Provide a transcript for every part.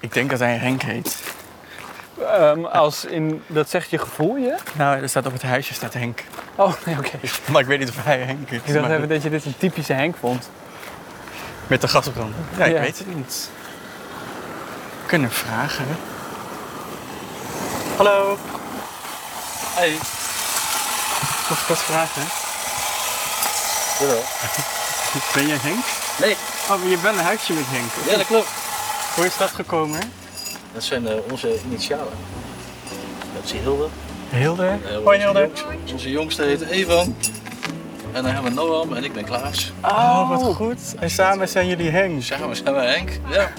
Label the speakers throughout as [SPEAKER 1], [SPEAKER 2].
[SPEAKER 1] Ik denk dat hij Henk heet.
[SPEAKER 2] Ehm, als in, dat zegt je gevoel je?
[SPEAKER 1] Nou, er staat op het huisje staat Henk.
[SPEAKER 2] Oh, nee, oké.
[SPEAKER 1] Maar ik weet niet of hij Henk is.
[SPEAKER 2] Ik dacht
[SPEAKER 1] maar
[SPEAKER 2] even dat je dit een typische Henk vond.
[SPEAKER 1] Met de gasbrand. Ja, ik
[SPEAKER 2] Ja.
[SPEAKER 1] weet het niet. Kunnen vragen. Hallo. Hey. Mag ik wat vragen?
[SPEAKER 3] Jawel.
[SPEAKER 1] Ben je Henk?
[SPEAKER 3] Nee,
[SPEAKER 1] Oh, maar je bent een huisje met Henk.
[SPEAKER 3] ja, dat klopt.
[SPEAKER 1] Hoe is dat gekomen?
[SPEAKER 3] Dat zijn eh, onze initialen. Dat is Hilde.
[SPEAKER 1] Hilde.
[SPEAKER 3] Eh,
[SPEAKER 1] Hoi
[SPEAKER 3] onze
[SPEAKER 1] Hilde.
[SPEAKER 3] jongste- Onze jongste heet Evan. En dan hebben we Noam en ik ben Klaas. Dus
[SPEAKER 1] Oh, wat goed. En samen zijn jullie Henk.
[SPEAKER 3] Samen zijn we Henk. Ja.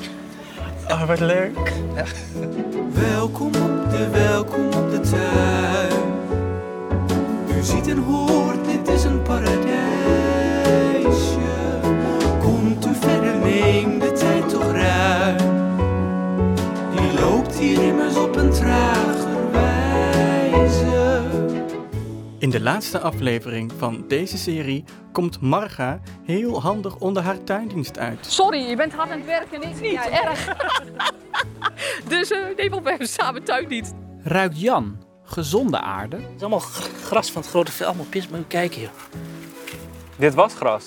[SPEAKER 1] Oh, wat leuk.
[SPEAKER 4] Welkom op de, welkom op de tuin. U ziet en hoort, dit is een paradijsje. Komt u verder, neem de tijd toch ruim. Die loopt hier immers op een trager wijze.
[SPEAKER 1] In de laatste aflevering van deze serie komt Marga heel handig onder haar tuindienst uit.
[SPEAKER 5] Sorry, je bent hard aan het werken. Ik niet erg. dus eh neem op, we hebben samen tuindienst.
[SPEAKER 6] Ruikt Jan gezonde aarde?
[SPEAKER 3] Het is allemaal gras van het grote veld. Allemaal pis, maar kijk hier.
[SPEAKER 2] Dit was gras.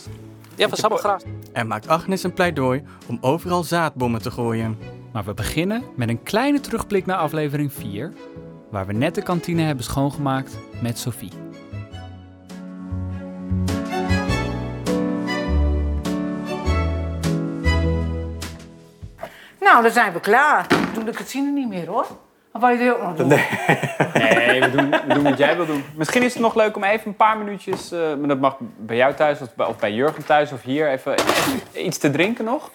[SPEAKER 3] Ja, van allemaal gras.
[SPEAKER 1] En maakt Agnes een pleidooi om overal zaadbommen te gooien.
[SPEAKER 6] Maar we beginnen met een kleine terugblik naar aflevering 4, waar we net de kantine hebben schoongemaakt met Sophie.
[SPEAKER 7] Nou, dan zijn we klaar. Dan Doe de kantine niet meer hoor. Of wil je Oh, die ook nog doen?
[SPEAKER 2] Nee, we doen, we doen wat jij wil doen. Misschien is het nog leuk om even een paar minuutjes, eh, maar dat mag bij jou thuis of bij, of bij Jurgen thuis of hier, even, even iets te drinken nog.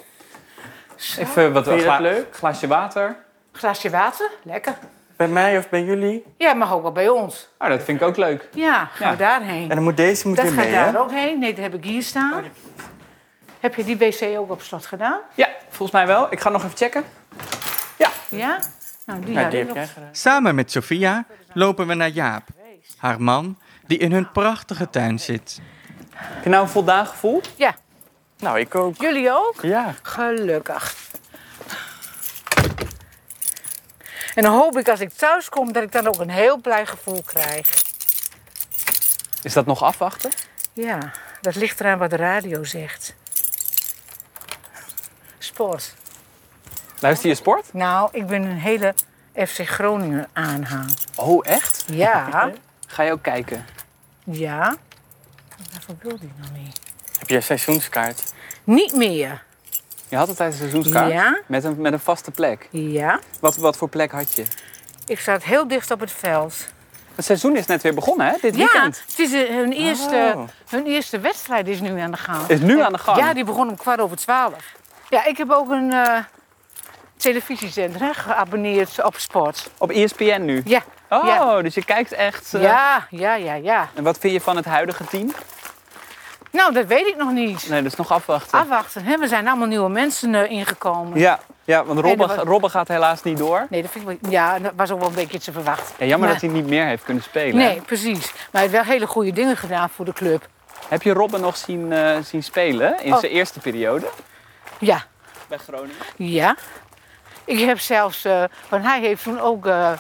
[SPEAKER 2] Even wat
[SPEAKER 1] Vind je dat
[SPEAKER 2] gla- glaasje water.
[SPEAKER 7] Glaasje water, lekker.
[SPEAKER 1] Bij mij of bij jullie?
[SPEAKER 7] Ja, mag ook wel bij ons.
[SPEAKER 2] Nou, dat vind ik ook leuk.
[SPEAKER 7] Ja, gaan we
[SPEAKER 2] Ja.
[SPEAKER 7] daarheen.
[SPEAKER 1] En dan moet deze moet
[SPEAKER 7] dat
[SPEAKER 1] weer
[SPEAKER 7] gaat
[SPEAKER 1] mee, hè?
[SPEAKER 7] daar ook heen. Nee, dat heb ik hier staan. Heb je die wc ook op slot gedaan?
[SPEAKER 2] Ja, volgens mij wel. Ik ga nog even checken.
[SPEAKER 7] Ja? Nou, die,
[SPEAKER 1] Ja,
[SPEAKER 7] had
[SPEAKER 1] die
[SPEAKER 7] ik
[SPEAKER 1] heb
[SPEAKER 7] nog.
[SPEAKER 1] jij Samen met Sofia lopen we naar Jaap, haar man, die in hun prachtige tuin zit.
[SPEAKER 2] Heb je nou een voldaan gevoel?
[SPEAKER 7] Ja,
[SPEAKER 1] Nou, ik ook.
[SPEAKER 7] jullie ook?
[SPEAKER 1] Ja.
[SPEAKER 7] Gelukkig. En dan hoop ik als ik thuis kom dat ik dan ook een heel blij gevoel krijg.
[SPEAKER 2] Is dat nog afwachten?
[SPEAKER 7] Ja, dat ligt eraan wat de radio zegt. Sport.
[SPEAKER 2] Luister je sport?
[SPEAKER 7] Nou, ik ben een hele FC Groningen aanhang.
[SPEAKER 2] Oh, echt?
[SPEAKER 7] Ja,
[SPEAKER 2] Ga je ook kijken?
[SPEAKER 7] ja. Waarvoor wil die nou niet?
[SPEAKER 1] Heb jij seizoenskaart?
[SPEAKER 7] Niet meer.
[SPEAKER 2] Je had altijd een seizoenskaart
[SPEAKER 7] Ja.
[SPEAKER 2] met, een, met een vaste plek.
[SPEAKER 7] Ja.
[SPEAKER 2] Wat, wat voor plek had je?
[SPEAKER 7] Ik zat heel dicht op het veld.
[SPEAKER 2] Het seizoen is net weer begonnen, hè? Dit
[SPEAKER 7] Ja,
[SPEAKER 2] weekend.
[SPEAKER 7] het is eh, hun eerste,
[SPEAKER 1] Oh.
[SPEAKER 7] hun eerste wedstrijd is nu aan de gang.
[SPEAKER 2] Is nu aan de gang.
[SPEAKER 7] Ja, die begon om kwart over twaalf. Ja, ik heb ook een eh, televisiezender hè, geabonneerd op sport.
[SPEAKER 2] Op E ESPN nu.
[SPEAKER 7] Ja.
[SPEAKER 2] Oh,
[SPEAKER 7] Ja.
[SPEAKER 2] dus je kijkt echt. eh,
[SPEAKER 7] Ja, ja, ja, ja.
[SPEAKER 2] En wat vind je van het huidige team?
[SPEAKER 7] Nou, dat weet ik nog niet.
[SPEAKER 2] Nee, dat is nog afwachten.
[SPEAKER 7] Afwachten, hè? we zijn allemaal nieuwe mensen eh, ingekomen.
[SPEAKER 2] Ja, ja, want Robben,
[SPEAKER 7] dat was-
[SPEAKER 2] Robben gaat helaas niet door.
[SPEAKER 7] Nee, dat vind ik wel, ja, dat was ook wel een beetje te verwachten.
[SPEAKER 2] Ja, jammer
[SPEAKER 7] Maar-
[SPEAKER 2] dat hij niet meer heeft kunnen spelen. hè?
[SPEAKER 7] Nee, precies. Maar hij heeft wel hele goede dingen gedaan voor de club.
[SPEAKER 2] Heb je Robben nog zien, eh, zien spelen in
[SPEAKER 7] Oh.
[SPEAKER 2] zijn eerste periode
[SPEAKER 7] Ja,
[SPEAKER 2] bij Groningen?
[SPEAKER 7] ja. Ik heb zelfs, eh, want hij heeft toen ook eh,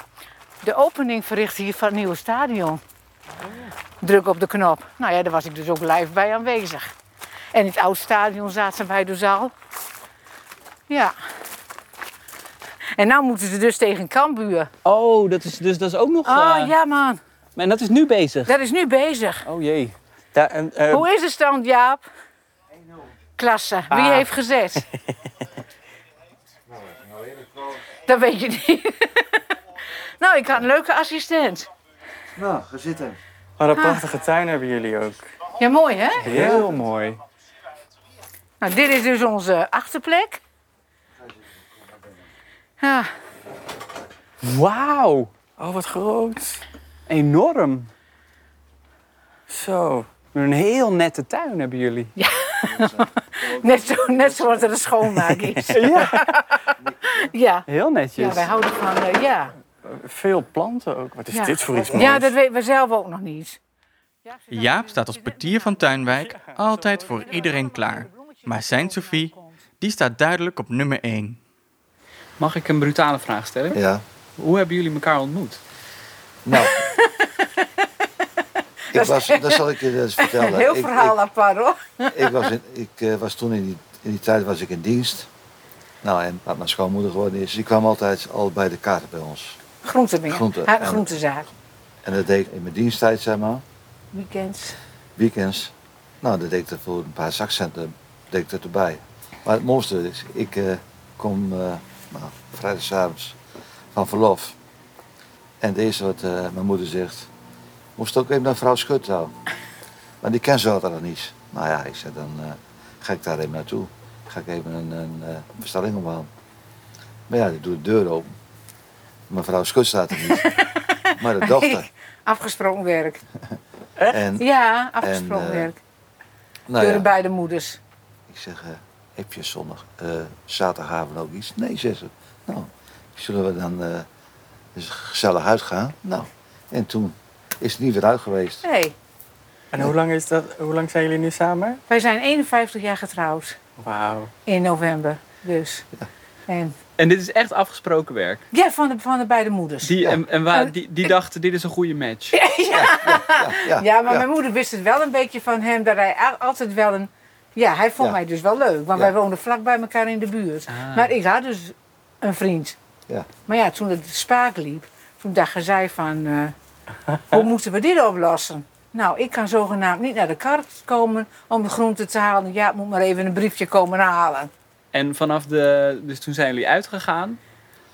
[SPEAKER 7] de opening verricht hier van het nieuwe stadion. Druk op de knop. Nou ja, daar was ik dus ook live bij aanwezig. En in het oude stadion zaten wij dus al. Ja. En nou moeten ze dus tegen Cambuur.
[SPEAKER 2] Oh, dat is, dus, dat is ook nog.
[SPEAKER 7] Oh ja man,
[SPEAKER 2] En dat is nu bezig.
[SPEAKER 7] dat is nu bezig.
[SPEAKER 2] Oh jee.
[SPEAKER 1] Ja, en, eh,
[SPEAKER 7] Hoe is de stand, Jaap? 1-0. Klasse. Wie
[SPEAKER 2] Ah.
[SPEAKER 7] heeft gezet? Dat weet je niet. nou, ik had een leuke assistent.
[SPEAKER 1] wat
[SPEAKER 7] Ah.
[SPEAKER 1] een prachtige tuin hebben jullie ook.
[SPEAKER 7] Ja, mooi hè?
[SPEAKER 2] Heel mooi.
[SPEAKER 7] Nou, dit is dus onze achterplek. Ja,
[SPEAKER 2] Wauw.
[SPEAKER 1] Oh, wat groot.
[SPEAKER 2] Enorm.
[SPEAKER 1] Zo.
[SPEAKER 2] Een heel nette tuin hebben jullie.
[SPEAKER 7] net, zo, net zoals er een schoonmaak is.
[SPEAKER 2] Ja.
[SPEAKER 7] Ja,
[SPEAKER 2] Heel netjes.
[SPEAKER 7] ja wij houden van, eh, ja.
[SPEAKER 1] Veel planten ook. Wat is
[SPEAKER 7] Ja.
[SPEAKER 1] dit voor iets moois?
[SPEAKER 7] Ja, dat weten we zelf ook nog niet.
[SPEAKER 1] Jaap staat als portier van Tuinwijk altijd voor iedereen klaar. Maar zijn Sophie, die staat duidelijk op nummer 1.
[SPEAKER 2] Mag ik een brutale vraag stellen?
[SPEAKER 8] Ja.
[SPEAKER 2] Hoe hebben jullie elkaar ontmoet?
[SPEAKER 8] Nou. ik was, dat zal ik je eens vertellen.
[SPEAKER 7] Heel
[SPEAKER 8] Ik- ik-
[SPEAKER 7] verhaal apart hoor.
[SPEAKER 8] ik was, in, ik, eh, was toen in die, in die tijd was ik in dienst. Nou, en wat mijn schoonmoeder geworden is, die kwam altijd al bij de kaarten bij ons.
[SPEAKER 7] Groentemeer.
[SPEAKER 8] Groente-
[SPEAKER 7] Haar
[SPEAKER 8] en-
[SPEAKER 7] groentezaak.
[SPEAKER 8] En dat deed ik in mijn diensttijd, zeg maar,
[SPEAKER 7] Weekends.
[SPEAKER 8] weekends. Nou, dat deed ik er voor een paar zakcenten deed ik dat erbij. Maar het mooiste is, ik eh, kom eh nou, vrijdagavond van verlof. En het eerste wat eh, mijn moeder zegt, moest ook even naar vrouw Schut trouwen. Want die kent ze altijd niet. Nou ja, ik zeg dan eh, ga ik daar even naartoe. Ga ik even een, een eh, bestelling ophalen. Maar ja, ik doe de deur open. Mevrouw Schut staat er niet. maar de dochter.
[SPEAKER 7] Afgesproken werk.
[SPEAKER 8] En
[SPEAKER 7] Ja, afgesproken
[SPEAKER 8] En, eh,
[SPEAKER 7] werk.
[SPEAKER 8] nou
[SPEAKER 7] Door de
[SPEAKER 8] ja,
[SPEAKER 7] beide moeders.
[SPEAKER 8] ik zeg, eh, heb je zondag, eh, zaterdagavond ook iets? Nee, zegt ze. Nou, zullen we dan eh eens gezellig uitgaan? Nou, en toen is het niet weer uit geweest.
[SPEAKER 7] Nee,
[SPEAKER 1] En hoe lang, is dat, hoe lang zijn jullie nu samen?
[SPEAKER 7] wij zijn 51 jaar getrouwd.
[SPEAKER 2] Wauw.
[SPEAKER 7] In november dus. En,
[SPEAKER 2] En dit is echt afgesproken werk.
[SPEAKER 7] ja, van de, van de beide moeders.
[SPEAKER 2] Die, en, en waar, die, die dachten, dit is een goede match.
[SPEAKER 8] Ja,
[SPEAKER 7] Ja, maar mijn moeder wist het wel een beetje van hem dat hij a- altijd wel een. Ja, hij vond
[SPEAKER 8] Ja.
[SPEAKER 7] mij dus wel leuk, want
[SPEAKER 8] Ja.
[SPEAKER 7] wij woonden vlak bij elkaar in de buurt.
[SPEAKER 2] Ah.
[SPEAKER 7] Maar ik had dus een vriend.
[SPEAKER 8] Ja.
[SPEAKER 7] Maar ja, toen het spaak liep, toen dachten zij van, eh, hoe moeten we dit oplossen? Nou, ik kan zogenaamd niet naar de kart komen om de groenten te halen. Ja, het moet maar even een briefje komen halen.
[SPEAKER 2] En vanaf de... Dus toen zijn jullie uitgegaan.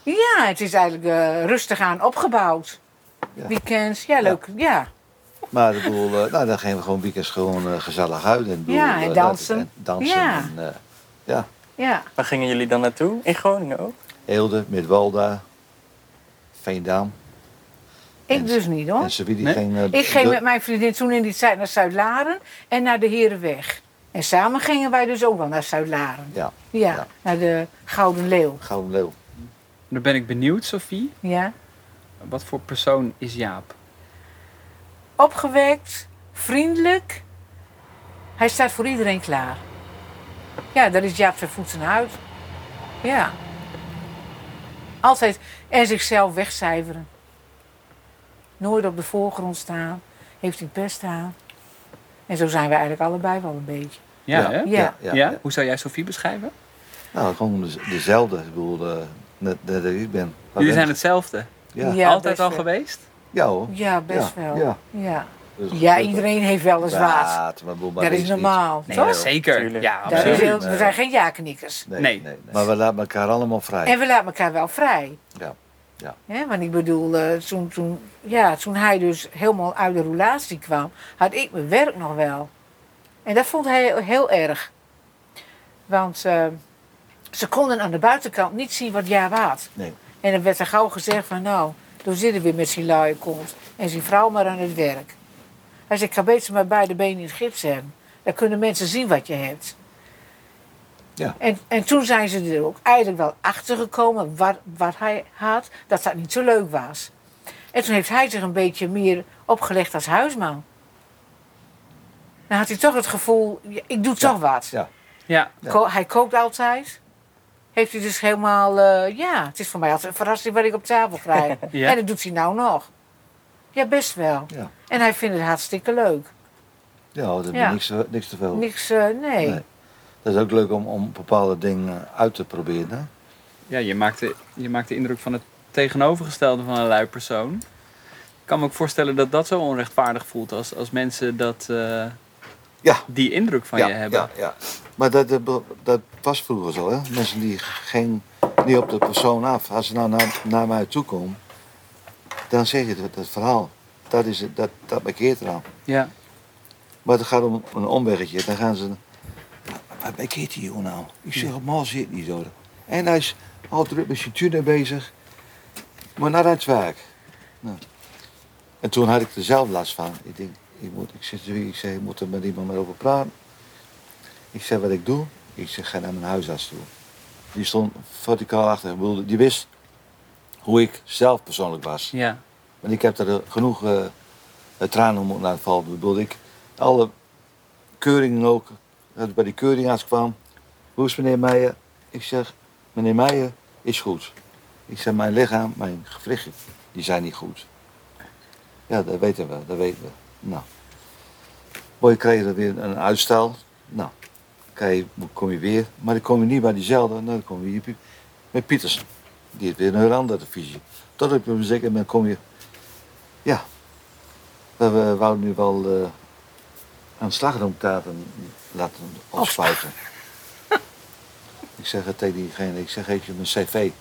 [SPEAKER 7] Ja, het is eigenlijk eh, rustig aan opgebouwd.
[SPEAKER 8] Ja.
[SPEAKER 7] Weekends, ja, leuk. Ja,
[SPEAKER 8] Maar ik bedoel, eh, nou, dan gingen we gewoon weekends gewoon eh, gezellig uit. En, ik bedoel,
[SPEAKER 7] Ja, en
[SPEAKER 8] eh, dat-
[SPEAKER 7] dansen.
[SPEAKER 8] en dansen
[SPEAKER 7] Ja.
[SPEAKER 8] en eh,
[SPEAKER 7] ja.
[SPEAKER 1] Waar gingen jullie dan naartoe? In Groningen ook?
[SPEAKER 8] Eelde, Midwalda, Veendam.
[SPEAKER 7] Ik
[SPEAKER 8] En-
[SPEAKER 7] dus niet hoor.
[SPEAKER 8] En Sabine
[SPEAKER 2] Nee.
[SPEAKER 8] ging... eh,
[SPEAKER 7] Ik ging
[SPEAKER 8] de-
[SPEAKER 7] met mijn vriendin toen in die tijd naar Zuid-Laren en naar de Herenweg. En samen gingen wij dus ook wel naar Zuid-Laren.
[SPEAKER 8] Ja,
[SPEAKER 7] Ja,
[SPEAKER 8] Ja.
[SPEAKER 7] naar de Gouden Leeuw.
[SPEAKER 8] Gouden Leeuw.
[SPEAKER 2] Dan ben ik benieuwd, Sophie.
[SPEAKER 7] Ja.
[SPEAKER 2] Wat voor persoon is Jaap?
[SPEAKER 7] Opgewekt, vriendelijk. Hij staat voor iedereen klaar. Ja, daar is Jaap zijn voeten uit. Ja. Altijd en zichzelf wegcijferen. Nooit op de voorgrond staan. Heeft hij het best aan. En zo zijn we eigenlijk allebei wel een beetje.
[SPEAKER 2] Ja,
[SPEAKER 8] Ja.
[SPEAKER 2] hè?
[SPEAKER 7] Ja.
[SPEAKER 2] Ja? Hoe zou jij Sophie beschrijven?
[SPEAKER 8] Nou, gewoon de- dezelfde. Ik bedoel, eh, net, net dat ik ben.
[SPEAKER 2] Jullie zijn hetzelfde.
[SPEAKER 8] Ja,
[SPEAKER 7] Ja, eh, dus,
[SPEAKER 2] Altijd
[SPEAKER 7] best
[SPEAKER 2] al
[SPEAKER 7] wel.
[SPEAKER 2] geweest?
[SPEAKER 8] ja hoor.
[SPEAKER 7] Ja, best
[SPEAKER 8] Ja,
[SPEAKER 7] wel.
[SPEAKER 8] ja.
[SPEAKER 7] Ja. Ja.
[SPEAKER 8] Dus-
[SPEAKER 7] iedereen heeft wel eens waard.
[SPEAKER 8] Waard, maar bedoel, maar
[SPEAKER 7] Dat
[SPEAKER 8] dat
[SPEAKER 7] is normaal,
[SPEAKER 2] Nee,
[SPEAKER 7] toch?
[SPEAKER 2] zeker.
[SPEAKER 1] Tuurlijk.
[SPEAKER 2] Ja,
[SPEAKER 7] Dat
[SPEAKER 2] absoluut.
[SPEAKER 7] is heel,
[SPEAKER 8] Nee.
[SPEAKER 7] we zijn geen ja-knikkers.
[SPEAKER 8] niet- Nee,
[SPEAKER 2] Nee.
[SPEAKER 8] nee, nee. Maar we laten elkaar allemaal vrij.
[SPEAKER 7] En we laten elkaar wel vrij.
[SPEAKER 8] Ja. Ja.
[SPEAKER 7] Hè, want ik bedoel, eh, toen, toen, ja, toen hij dus helemaal uit de roulatie kwam, had ik mijn werk nog wel. En dat vond hij heel erg. Want eh, ze konden aan de buitenkant niet zien wat Jaap had.
[SPEAKER 8] Nee.
[SPEAKER 7] En dan werd er gauw gezegd van nou, toen zit hij weer met zijn luie kont en zijn vrouw maar aan het werk. Hij zei, ik kan beter maar beide benen in het gips hebben. Dan kunnen mensen zien wat je hebt.
[SPEAKER 8] Ja.
[SPEAKER 7] En, en toen zijn ze er ook eigenlijk wel achter gekomen wat, wat hij had, dat dat niet zo leuk was. En toen heeft hij zich een beetje meer opgelegd als huisman. Dan had hij toch het gevoel, ja, ik doe toch wat.
[SPEAKER 8] ja.
[SPEAKER 2] Ja.
[SPEAKER 8] Ja.
[SPEAKER 7] Ko- hij kookt altijd. Heeft hij dus helemaal, eh, ja, het is voor mij altijd een verrassing wat ik op tafel krijg.
[SPEAKER 2] Ja.
[SPEAKER 7] En dat doet hij nou nog. Ja, best wel.
[SPEAKER 8] Ja.
[SPEAKER 7] En hij vindt het hartstikke leuk.
[SPEAKER 8] Ja, hoor, daar heb je
[SPEAKER 7] Ja.
[SPEAKER 8] niks, niks te veel.
[SPEAKER 7] Niks, eh, nee.
[SPEAKER 8] Nee. Dat is ook leuk om, om bepaalde dingen uit te proberen. hè?
[SPEAKER 2] Ja, je maakt, de, je maakt de indruk van het tegenovergestelde van een lui persoon. Ik kan me ook voorstellen dat dat zo onrechtvaardig voelt als, als mensen dat, eh,
[SPEAKER 8] Ja.
[SPEAKER 2] die indruk van
[SPEAKER 8] ja,
[SPEAKER 2] je Oh, hebben.
[SPEAKER 8] Ja, ja. Maar dat, dat, dat was vroeger zo, hè? Mensen die geen, niet op de persoon af. Als ze nou naar, naar mij toe komen, dan zeg je dat, dat verhaal. Dat, is, het- dat, dat markeert eraan.
[SPEAKER 2] Ja.
[SPEAKER 8] Maar het gaat om een omweggetje. Dan gaan ze. Waar ben ik hier joh nou? Ik zeg, man zit niet hoor. En hij is al druk met zijn tuna bezig. Maar naar het werk. Nou. En toen had ik er zelf last van. Ik denk, ik, moet, ik, zit, hier, ik zeg, ik moet er met iemand maar over praten. Ik zeg wat ik doe. Ik zeg, ga naar mijn huisarts toe. Die stond verticaal achter. Ik bedoel, die wist hoe ik zelf persoonlijk was.
[SPEAKER 2] Ja.
[SPEAKER 9] Nou,
[SPEAKER 8] Want ik heb er eh, genoeg eh, eh, tranen om laten vallen. Ik bedoel, ik, alle keuringen ook, dat ik bij die keuring kwam. Hoe is meneer Meijer? Ik zeg, meneer Meijer, is goed. Ik zeg, mijn lichaam, mijn gewrichten, die zijn niet goed. Ja, dat weten we, dat weten we. Nou. Mooi kreeg er weer een uitstel. Nou, kijk, kom je weer. Maar dan kom je niet bij diezelfde, nou, dan kom je hier met Pieters. Die heeft weer een andere visie. Tot op een zeker moment kom je... Ja, we, we wouden nu wel eh, aan slagroomtaarten laten afspuiten.
[SPEAKER 7] Oh.
[SPEAKER 8] ik zeg het tegen diegene, ik zeg, heeft je mijn cv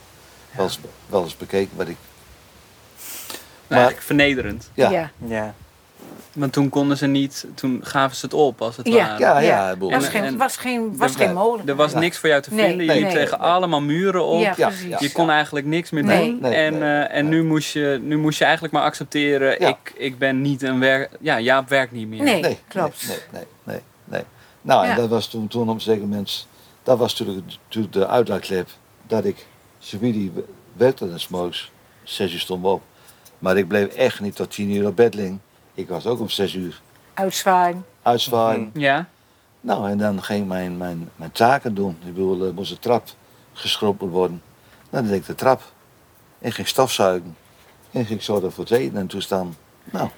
[SPEAKER 8] wel eens, wel eens bekeken? Wat ik...
[SPEAKER 9] Nou, eigenlijk vernederend.
[SPEAKER 8] Ja, ja,
[SPEAKER 7] ja.
[SPEAKER 2] Ja.
[SPEAKER 9] Want toen konden ze niet, toen gaven ze het op als het
[SPEAKER 7] Ah, Ja.
[SPEAKER 9] ware.
[SPEAKER 8] ja,
[SPEAKER 7] Ja.
[SPEAKER 8] boel.
[SPEAKER 7] Er was
[SPEAKER 9] En-
[SPEAKER 7] geen,
[SPEAKER 9] en-
[SPEAKER 7] was geen, was
[SPEAKER 8] Er-
[SPEAKER 7] geen molen.
[SPEAKER 9] Er was
[SPEAKER 8] Ja.
[SPEAKER 9] niks voor jou te
[SPEAKER 7] Nee,
[SPEAKER 9] vinden. je
[SPEAKER 8] nee.
[SPEAKER 9] liep tegen allemaal muren op.
[SPEAKER 7] Ja,
[SPEAKER 8] Ja,
[SPEAKER 7] precies.
[SPEAKER 8] ja.
[SPEAKER 9] Je kon eigenlijk niks meer
[SPEAKER 7] Nee.
[SPEAKER 9] doen.
[SPEAKER 8] Nee,
[SPEAKER 9] en
[SPEAKER 8] nee,
[SPEAKER 9] eh, en Nu, moest je, nu moest je eigenlijk maar accepteren,
[SPEAKER 8] Ja.
[SPEAKER 9] ik, ik ben niet een werk... Ja, Jaap werkt niet meer.
[SPEAKER 7] Nee,
[SPEAKER 8] Nee,
[SPEAKER 7] klopt.
[SPEAKER 8] Nee, nee, nee. nee. Nou,
[SPEAKER 7] Ja.
[SPEAKER 8] en dat was toen, toen op een zeker moment, dat was natuurlijk, natuurlijk de uitlaatklep dat ik, Sabini werkte dan smooks, zes uur stond we op. Maar ik bleef echt niet tot tien uur op bed liggen. Ik was ook om zes uur
[SPEAKER 7] Uitzwaaien.
[SPEAKER 8] uitzwaaien.
[SPEAKER 7] Mhm.
[SPEAKER 9] Ja?
[SPEAKER 8] Nou, en dan ging mijn, mijn, mijn taken doen. Ik bedoel, er moest de trap geschroppen worden. Nou, dan deed ik de trap. En ging stofzuigen. En ging zorgen voor het eten en toestaan. Nou,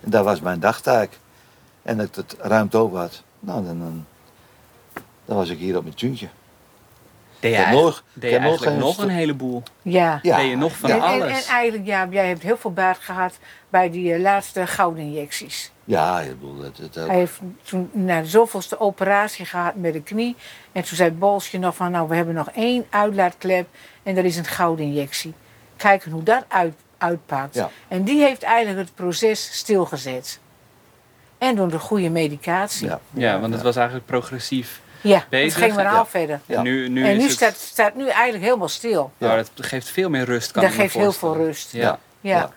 [SPEAKER 8] en dat was mijn dagtaak. En dat ik het ruimte over had. Nou, dan, dan, dan was ik hier op mijn tuintje.
[SPEAKER 9] Deed je,
[SPEAKER 8] heb
[SPEAKER 9] eigenlijk-
[SPEAKER 8] nog-
[SPEAKER 9] deed
[SPEAKER 8] ik
[SPEAKER 9] je
[SPEAKER 8] heb nog
[SPEAKER 9] eigenlijk
[SPEAKER 8] geen
[SPEAKER 9] nog
[SPEAKER 8] stu-
[SPEAKER 9] een heleboel.
[SPEAKER 7] Ja.
[SPEAKER 8] Ja,
[SPEAKER 9] Deed je nog van
[SPEAKER 7] En, en, en
[SPEAKER 9] alles.
[SPEAKER 7] eigenlijk, Jaap, jij hebt heel veel baat gehad bij die eh, laatste gouden injecties.
[SPEAKER 8] ja, ik bedoel, het, het,
[SPEAKER 7] Hij heeft toen na de zoveelste operatie gehad met de knie. En toen zei Bolsje nog van, nou, we hebben nog één uitlaatklep en dat is een gouden injectie. Kijken hoe dat uit, uitpakt.
[SPEAKER 8] Ja.
[SPEAKER 7] En die heeft eigenlijk het proces stilgezet. En door de goede medicatie.
[SPEAKER 8] ja.
[SPEAKER 9] Ja, want het was eigenlijk progressief.
[SPEAKER 7] Ja, het
[SPEAKER 9] Bezig,
[SPEAKER 7] ging maar
[SPEAKER 9] ja.
[SPEAKER 7] al verder.
[SPEAKER 8] Ja.
[SPEAKER 9] En nu, nu
[SPEAKER 7] en
[SPEAKER 9] is
[SPEAKER 7] nu
[SPEAKER 9] het...
[SPEAKER 7] staat, staat nu eigenlijk helemaal stil.
[SPEAKER 9] Nou, dat geeft veel meer rust, kan
[SPEAKER 7] Dat
[SPEAKER 9] ik me
[SPEAKER 7] geeft heel veel
[SPEAKER 9] voorstellen.
[SPEAKER 7] rust.
[SPEAKER 9] Ja.
[SPEAKER 7] Ja.
[SPEAKER 8] Ja.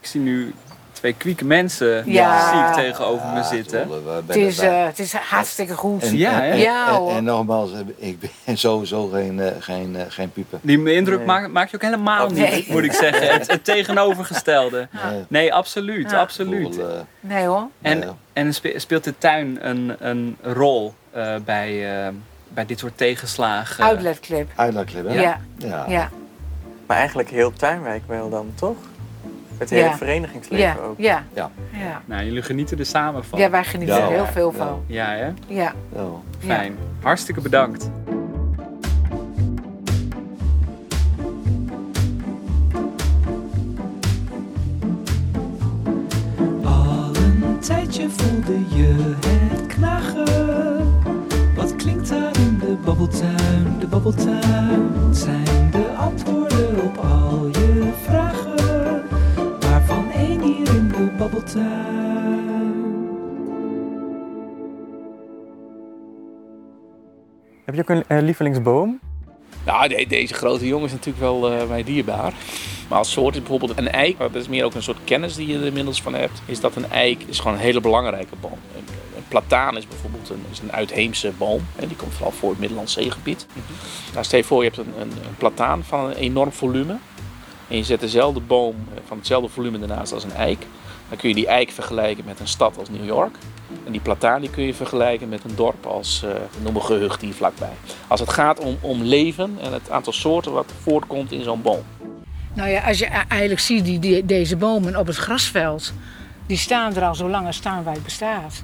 [SPEAKER 9] Ik zie nu twee kwieke mensen
[SPEAKER 7] Ja.
[SPEAKER 9] ziek tegenover me
[SPEAKER 8] Ja,
[SPEAKER 9] zitten.
[SPEAKER 8] bedoel, we- we-
[SPEAKER 7] Het, is,
[SPEAKER 8] we-
[SPEAKER 7] eh, het is hartstikke goed.
[SPEAKER 8] en,
[SPEAKER 9] Ja, hè?
[SPEAKER 8] en,
[SPEAKER 7] Ja,
[SPEAKER 8] en-
[SPEAKER 7] hoor.
[SPEAKER 8] en nogmaals, eh, ik ben sowieso geen, eh, geen, eh, geen pieper.
[SPEAKER 9] Die indruk maakt, maakt je ook helemaal niet,
[SPEAKER 7] nee.
[SPEAKER 9] moet ik zeggen. Het, het tegenovergestelde.
[SPEAKER 8] Nee.
[SPEAKER 9] Nee, absoluut,
[SPEAKER 7] Ja.
[SPEAKER 8] Ik bedoel,
[SPEAKER 9] absoluut.
[SPEAKER 8] eh,
[SPEAKER 7] Nee hoor.
[SPEAKER 8] nee,
[SPEAKER 9] En,
[SPEAKER 8] hoor.
[SPEAKER 9] en spe- speelt de tuin een, een rol eh, bij, eh, bij dit soort tegenslagen?
[SPEAKER 7] Uitlaatklep.
[SPEAKER 8] uitlaatklep, hè?
[SPEAKER 7] Ja. Ja.
[SPEAKER 8] Ja.
[SPEAKER 7] Ja.
[SPEAKER 10] Maar eigenlijk heel Tuinwijk wel dan, toch? Het
[SPEAKER 7] Ja.
[SPEAKER 10] hele
[SPEAKER 7] Ja.
[SPEAKER 10] verenigingsleven ook.
[SPEAKER 7] Ja.
[SPEAKER 8] Ja.
[SPEAKER 7] ja.
[SPEAKER 9] Nou, jullie genieten er samen van.
[SPEAKER 7] Ja, wij genieten
[SPEAKER 8] Ja.
[SPEAKER 7] er heel veel
[SPEAKER 8] Ja.
[SPEAKER 7] van.
[SPEAKER 9] Ja, hè?
[SPEAKER 7] Ja.
[SPEAKER 8] Ja.
[SPEAKER 7] ja.
[SPEAKER 9] Fijn. Hartstikke bedankt.
[SPEAKER 4] Al een tijdje voelde je het knagen. Wat klinkt daar in de babbeltuin? De babbeltuin zijn de antwoorden op al je vragen. Waarvan één hier in de babbeltuin.
[SPEAKER 1] Heb je ook een eh, lievelingsboom?
[SPEAKER 11] Nou, de- deze grote jongen is natuurlijk wel eh mij dierbaar. Maar als soort is bijvoorbeeld een eik, maar dat is meer ook een soort kennis die je er inmiddels van hebt, is dat een eik is gewoon een hele belangrijke boom. Een, een plataan is bijvoorbeeld een, is een uitheemse boom. En die komt vooral voor het Middellandse Zeegebied. Nou, stel je voor, je hebt een, een, een plataan van een enorm volume. En je zet dezelfde boom eh, van hetzelfde volume ernaast als een eik. Dan kun je die eik vergelijken met een stad als New York. En die plataan die kun je vergelijken met een dorp als, eh noem een gehucht hier vlakbij. Als het gaat om, om leven en het aantal soorten wat voortkomt in zo'n boom.
[SPEAKER 7] Nou ja, als je a- eigenlijk ziet die, die- deze bomen op het grasveld, die staan er al zolang als Staanwijk bestaat.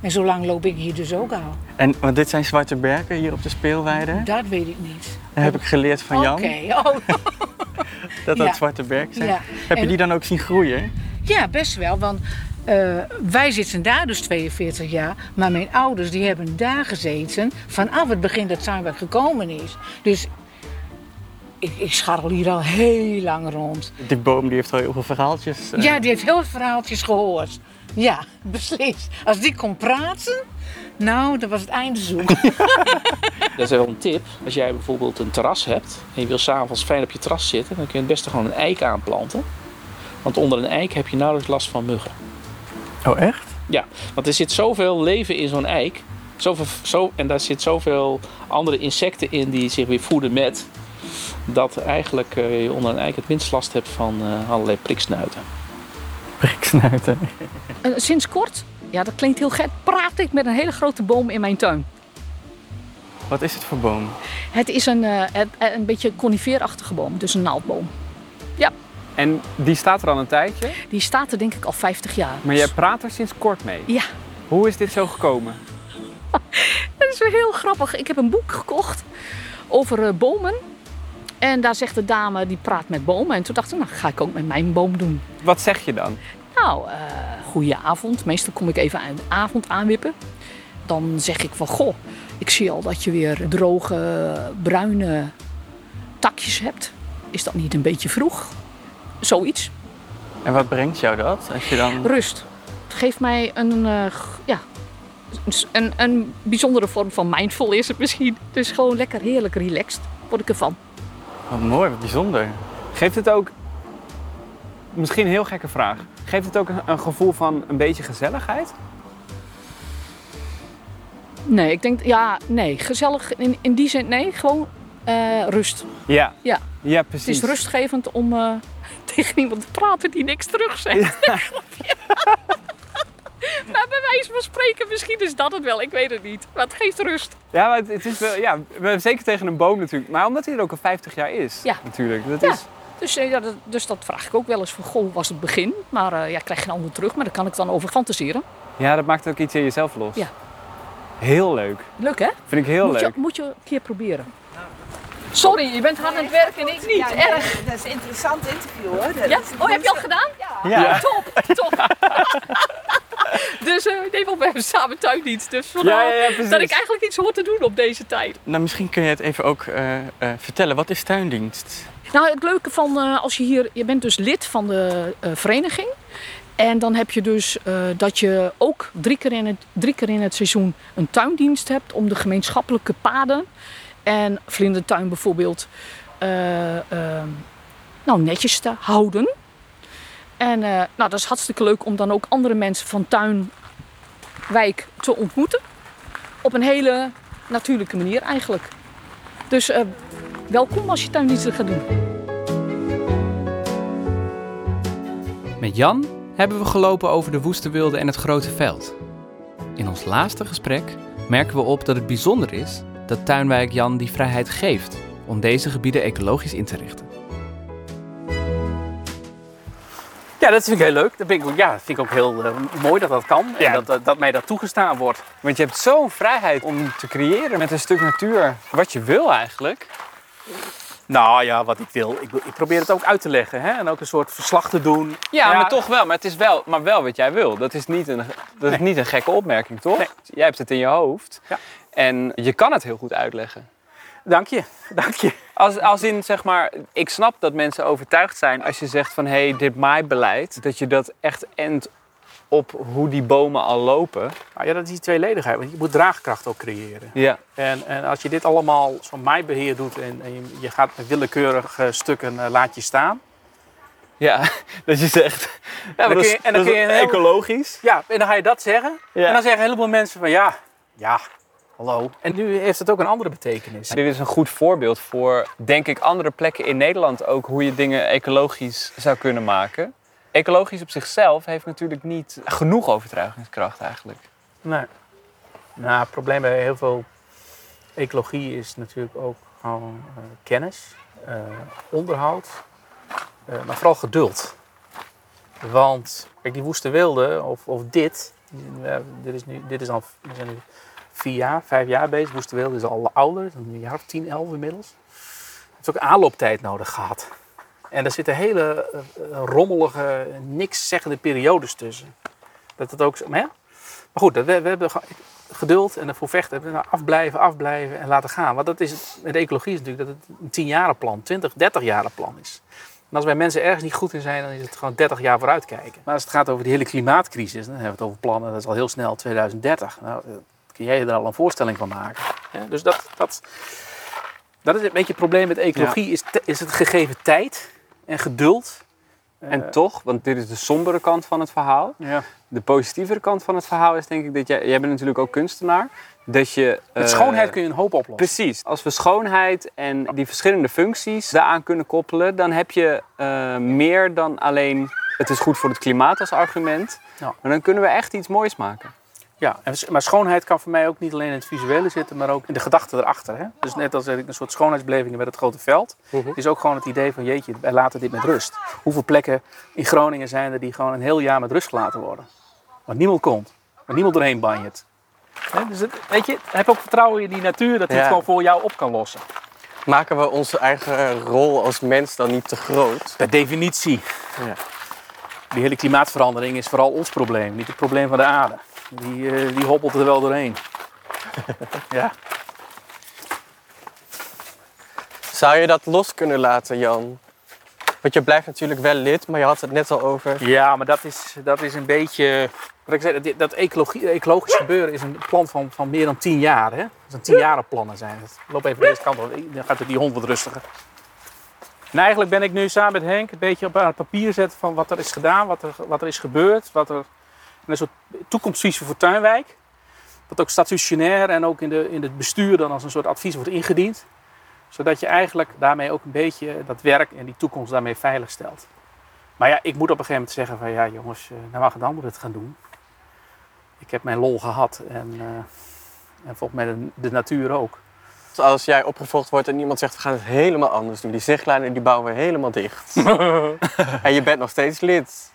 [SPEAKER 7] En zolang loop ik hier dus ook al.
[SPEAKER 1] En, want dit zijn zwarte berken hier op de speelweide.
[SPEAKER 7] Dat weet ik niet.
[SPEAKER 1] Dat heb ik geleerd van Jan,
[SPEAKER 7] Oké. Oh,
[SPEAKER 1] dat dat
[SPEAKER 7] ja.
[SPEAKER 1] zwarte berken zijn.
[SPEAKER 7] ja.
[SPEAKER 1] Heb je
[SPEAKER 7] En-
[SPEAKER 1] die dan ook zien groeien?
[SPEAKER 7] Ja, best wel. Want eh, wij zitten daar dus 42 jaar. Maar mijn ouders die hebben daar gezeten vanaf het begin dat Zuidwijk gekomen is. Dus ik, ik scharrel hier al heel lang rond.
[SPEAKER 1] Die boom die heeft al heel veel verhaaltjes. eh,
[SPEAKER 7] Ja, die heeft heel veel verhaaltjes gehoord. Ja, beslist. Als die kon praten, nou, dan was het einde zoek.
[SPEAKER 11] Dat is wel een tip. Als jij bijvoorbeeld een terras hebt en je wil s'avonds fijn op je terras zitten, dan kun je het beste gewoon een eik aanplanten. Want onder een eik heb je nauwelijks last van muggen.
[SPEAKER 1] Oh, echt?
[SPEAKER 11] Ja, want er zit zoveel leven in zo'n eik. Zoveel, zo, en daar zit zoveel andere insecten in die zich weer voeden met. Dat eigenlijk eh, je onder een eik het minst last hebt van eh, allerlei priksnuiten.
[SPEAKER 1] Priksnuiten.
[SPEAKER 5] Eh, sinds kort, ja dat klinkt heel gek, praat ik met een hele grote boom in mijn tuin.
[SPEAKER 1] Wat is het voor boom?
[SPEAKER 5] Het is een, eh, het- een beetje coniferachtige boom, dus een naaldboom. Ja,
[SPEAKER 2] En die staat er al een tijdje,
[SPEAKER 5] die staat er denk ik al 50 jaar.
[SPEAKER 2] maar jij praat er sinds kort mee.
[SPEAKER 5] Ja,
[SPEAKER 2] Hoe is dit zo gekomen?
[SPEAKER 5] dat is wel heel grappig. Ik heb een boek gekocht over eh, bomen. En daar zegt de dame, die praat met bomen. En toen dacht ik, nou ga ik ook met mijn boom doen.
[SPEAKER 2] Wat zeg je dan?
[SPEAKER 5] Nou, eh goeie avond. Meestal kom ik even aan de avond aanwippen. Dan zeg ik van, goh, ik zie al dat je weer droge, bruine takjes hebt. Is dat niet een beetje vroeg? Zoiets.
[SPEAKER 1] En wat brengt jou dat? Als je dan...
[SPEAKER 5] Rust. Het geeft mij een, eh, g- ja, een, een bijzondere vorm van mindful is het misschien. Dus gewoon lekker heerlijk relaxed word ik ervan.
[SPEAKER 1] Wat Oh, mooi, wat bijzonder.
[SPEAKER 2] Geeft het ook, misschien een heel gekke vraag, geeft het ook een, een gevoel van een beetje gezelligheid?
[SPEAKER 5] Nee, ik denk, ja, nee. Gezellig in, in die zin, nee. Gewoon eh, rust.
[SPEAKER 2] Ja,
[SPEAKER 5] Ja.
[SPEAKER 2] ja
[SPEAKER 5] Het
[SPEAKER 2] precies.
[SPEAKER 5] is rustgevend om eh, tegen iemand te praten die niks terug zegt. maar bij wijze van spreken, misschien is dat het wel. Ik weet het niet. Maar het geeft rust.
[SPEAKER 2] Ja, maar het, het is wel, ja, we- zeker tegen een boom natuurlijk. Maar omdat hij er ook al 50 jaar is,
[SPEAKER 5] Ja.
[SPEAKER 2] natuurlijk. Dat
[SPEAKER 5] Ja.
[SPEAKER 2] is,
[SPEAKER 5] Dus, eh, ja, dat, dus dat vraag ik ook wel eens van, goh, hoe was het begin? Maar eh, ja, ik krijg geen antwoord terug, maar daar kan ik dan over fantaseren.
[SPEAKER 2] ja, dat maakt ook iets in jezelf los.
[SPEAKER 5] Ja.
[SPEAKER 2] Heel leuk.
[SPEAKER 5] Leuk hè?
[SPEAKER 2] Vind ik heel
[SPEAKER 5] moet
[SPEAKER 2] leuk.
[SPEAKER 5] Je, moet je een keer proberen. Sorry, je bent hard aan het werk en ik niet.
[SPEAKER 7] Ja, nee,
[SPEAKER 5] Erg.
[SPEAKER 7] Dat is een interessant interview hoor. Dat
[SPEAKER 5] Ja?
[SPEAKER 7] is-
[SPEAKER 5] Oh, heb je al gedaan?
[SPEAKER 7] Ja.
[SPEAKER 2] Ja.
[SPEAKER 5] Top, top. dus eh, nee, want we hebben samen tuindienst. Dus vandaar
[SPEAKER 1] Ja, ja, ja, precies.
[SPEAKER 5] dat ik eigenlijk iets hoor te doen op deze tijd.
[SPEAKER 1] Nou, misschien kun je het even ook eh, eh, vertellen. Wat is tuindienst?
[SPEAKER 5] Nou, het leuke van eh, als je hier, je bent dus lid van de eh, vereniging. En dan heb je dus eh, dat je ook drie keer, in het, drie keer in het seizoen een tuindienst hebt om de gemeenschappelijke paden en vlindertuin bijvoorbeeld eh, eh, nou, netjes te houden. En eh, nou, dat is hartstikke leuk om dan ook andere mensen van tuinwijk te ontmoeten. Op een hele natuurlijke manier eigenlijk. Dus eh, welkom als je tuindiensten gaat doen.
[SPEAKER 12] Met Jan hebben we gelopen over de woeste wilde en het grote veld. In ons laatste gesprek merken we op dat het bijzonder is dat Tuinwijk Jan die vrijheid geeft om deze gebieden ecologisch in te richten.
[SPEAKER 13] Ja, dat vind ik heel leuk. Dat vind ik, ook- ja, dat vind ik ook heel eh, mooi dat dat kan. En dat, dat, dat mij dat toegestaan wordt.
[SPEAKER 2] Want je hebt zo'n vrijheid om te creëren met een stuk natuur. Wat je wil eigenlijk.
[SPEAKER 13] Nou ja, wat ik wil. Ik, wil- ik probeer het ook uit te leggen. Hè? En ook een soort verslag te doen.
[SPEAKER 2] Ja, maar toch wel. Maar het is wel, maar wel wat jij wil. Dat is niet een, dat is niet een gekke opmerking, toch? Jij hebt het in je hoofd. En je kan het heel goed uitleggen.
[SPEAKER 13] Dank je. Dank je.
[SPEAKER 2] Als, als in, zeg maar, ik snap dat mensen overtuigd zijn als je zegt van... hé, hey, dit maaibeleid, dat je dat echt endt op hoe die bomen al lopen.
[SPEAKER 9] Nou ja, dat is die tweeledigheid. Want je moet draagkracht ook creëren.
[SPEAKER 2] Ja.
[SPEAKER 9] En, en als je dit allemaal zo'n maaibeheer doet en, en je- je gaat met willekeurige stukken eh, laat je staan.
[SPEAKER 2] Ja, dat je zegt.
[SPEAKER 9] Ja,
[SPEAKER 13] maar
[SPEAKER 9] dat
[SPEAKER 13] kun
[SPEAKER 9] is,
[SPEAKER 13] je- en dan
[SPEAKER 9] dat is
[SPEAKER 13] kun je heel-
[SPEAKER 2] ecologisch.
[SPEAKER 9] Ja, en dan ga je dat zeggen.
[SPEAKER 13] Ja.
[SPEAKER 9] En dan zeggen een heleboel mensen van ja, ja, hallo. En nu heeft het ook een andere betekenis.
[SPEAKER 2] Dit is een goed voorbeeld voor, denk ik, andere plekken in Nederland ook... hoe je dingen ecologisch zou kunnen maken. Ecologisch op zichzelf heeft natuurlijk niet genoeg overtuigingskracht eigenlijk.
[SPEAKER 9] Nee. Nou, het probleem bij heel veel ecologie is natuurlijk ook gewoon eh, kennis, eh, onderhoud, eh, maar vooral geduld. Want kijk, die woeste wilde, of, of dit, eh, dit, is nu, dit is al we zijn nu vier jaar, vijf jaar bezig. Woeste wilde is al ouder, een jaar of tien, elf inmiddels. Het heeft ook aanlooptijd nodig gehad. En daar zitten hele eh, eh, rommelige, niks zeggende periodes tussen. Dat het ook, zo- maar ja, maar goed, dat- we, we hebben ge- geduld en ervoor vechten. We hebben Afblijven, afblijven en laten gaan. Want dat is het, met de ecologie is natuurlijk dat het een 10 jaren plan, 20, 30 jaren plan is. En als wij mensen ergens niet goed in zijn, dan is het gewoon 30 jaar vooruitkijken. Maar als het gaat over die hele klimaatcrisis, dan hebben we het over plannen, dat is al heel snel 2030. Nou, eh, kun jij je daar al een voorstelling van maken? Hè? Dus dat, dat, dat is een beetje het probleem met ecologie, is, te- is het gegeven tijd en geduld.
[SPEAKER 2] En toch, want dit is de sombere kant van het verhaal.
[SPEAKER 9] Eh, Ja.
[SPEAKER 2] De positievere kant van het verhaal is denk ik dat jij, jij bent natuurlijk ook kunstenaar, dat je...
[SPEAKER 9] Met
[SPEAKER 2] eh,
[SPEAKER 9] schoonheid kun je een hoop oplossen.
[SPEAKER 2] Precies. Als we schoonheid en die verschillende functies daaraan kunnen koppelen, dan heb je eh, meer dan alleen het is goed voor het klimaat als argument.
[SPEAKER 9] Ja.
[SPEAKER 2] Maar dan kunnen we echt iets moois maken.
[SPEAKER 9] Ja, en s- maar schoonheid kan voor mij ook niet alleen in het visuele zitten, maar ook in de gedachten erachter. Hè? Dus net als ik een soort schoonheidsbeleving met het grote veld,
[SPEAKER 2] Mhm.
[SPEAKER 9] is ook gewoon het idee van jeetje, wij laten dit met rust. Hoeveel plekken in Groningen zijn er die gewoon een heel jaar met rust gelaten worden? Want niemand komt, waar niemand doorheen banjert. Hè? Dus het- weet je, heb ook vertrouwen in die natuur dat die
[SPEAKER 1] Ja.
[SPEAKER 9] het gewoon voor jou op kan lossen.
[SPEAKER 1] Maken we onze eigen rol als mens dan niet te groot?
[SPEAKER 9] Per definitie.
[SPEAKER 1] Ja.
[SPEAKER 9] Die hele klimaatverandering is vooral ons probleem, niet het probleem van de aarde. Die, eh, die hobbelt er wel doorheen. ja.
[SPEAKER 1] Zou je dat los kunnen laten, Jan? Want je blijft natuurlijk wel lid, maar je had het net al over.
[SPEAKER 9] Ja, maar dat is, dat is een beetje. Wat ik zei, dat, dat ecologie, ecologisch gebeuren is een plan van, van meer dan tien jaar. Hè? Dat zijn jaren plannen zijn. het. Loop even deze kant op, dan gaat het die hond wat rustiger. Nou, eigenlijk ben ik nu samen met Henk een beetje op aan het papier zetten van wat er is gedaan, wat er, wat er is gebeurd. Wat er, een soort toekomstvisie voor Tuinwijk. Wat ook stationair en ook in, de, in het bestuur dan als een soort advies wordt ingediend. Zodat je eigenlijk daarmee ook een beetje dat werk en die toekomst daarmee veilig stelt. Maar ja, ik moet op een gegeven moment zeggen van ja jongens, eh, nou mag het anderen het gaan doen. Ik heb mijn lol gehad en, eh, en volgens mij de, de natuur ook.
[SPEAKER 1] Als jij opgevolgd wordt en iemand zegt we gaan het helemaal anders doen. Die zichtlijnen die bouwen we helemaal dicht. en je bent nog steeds lid.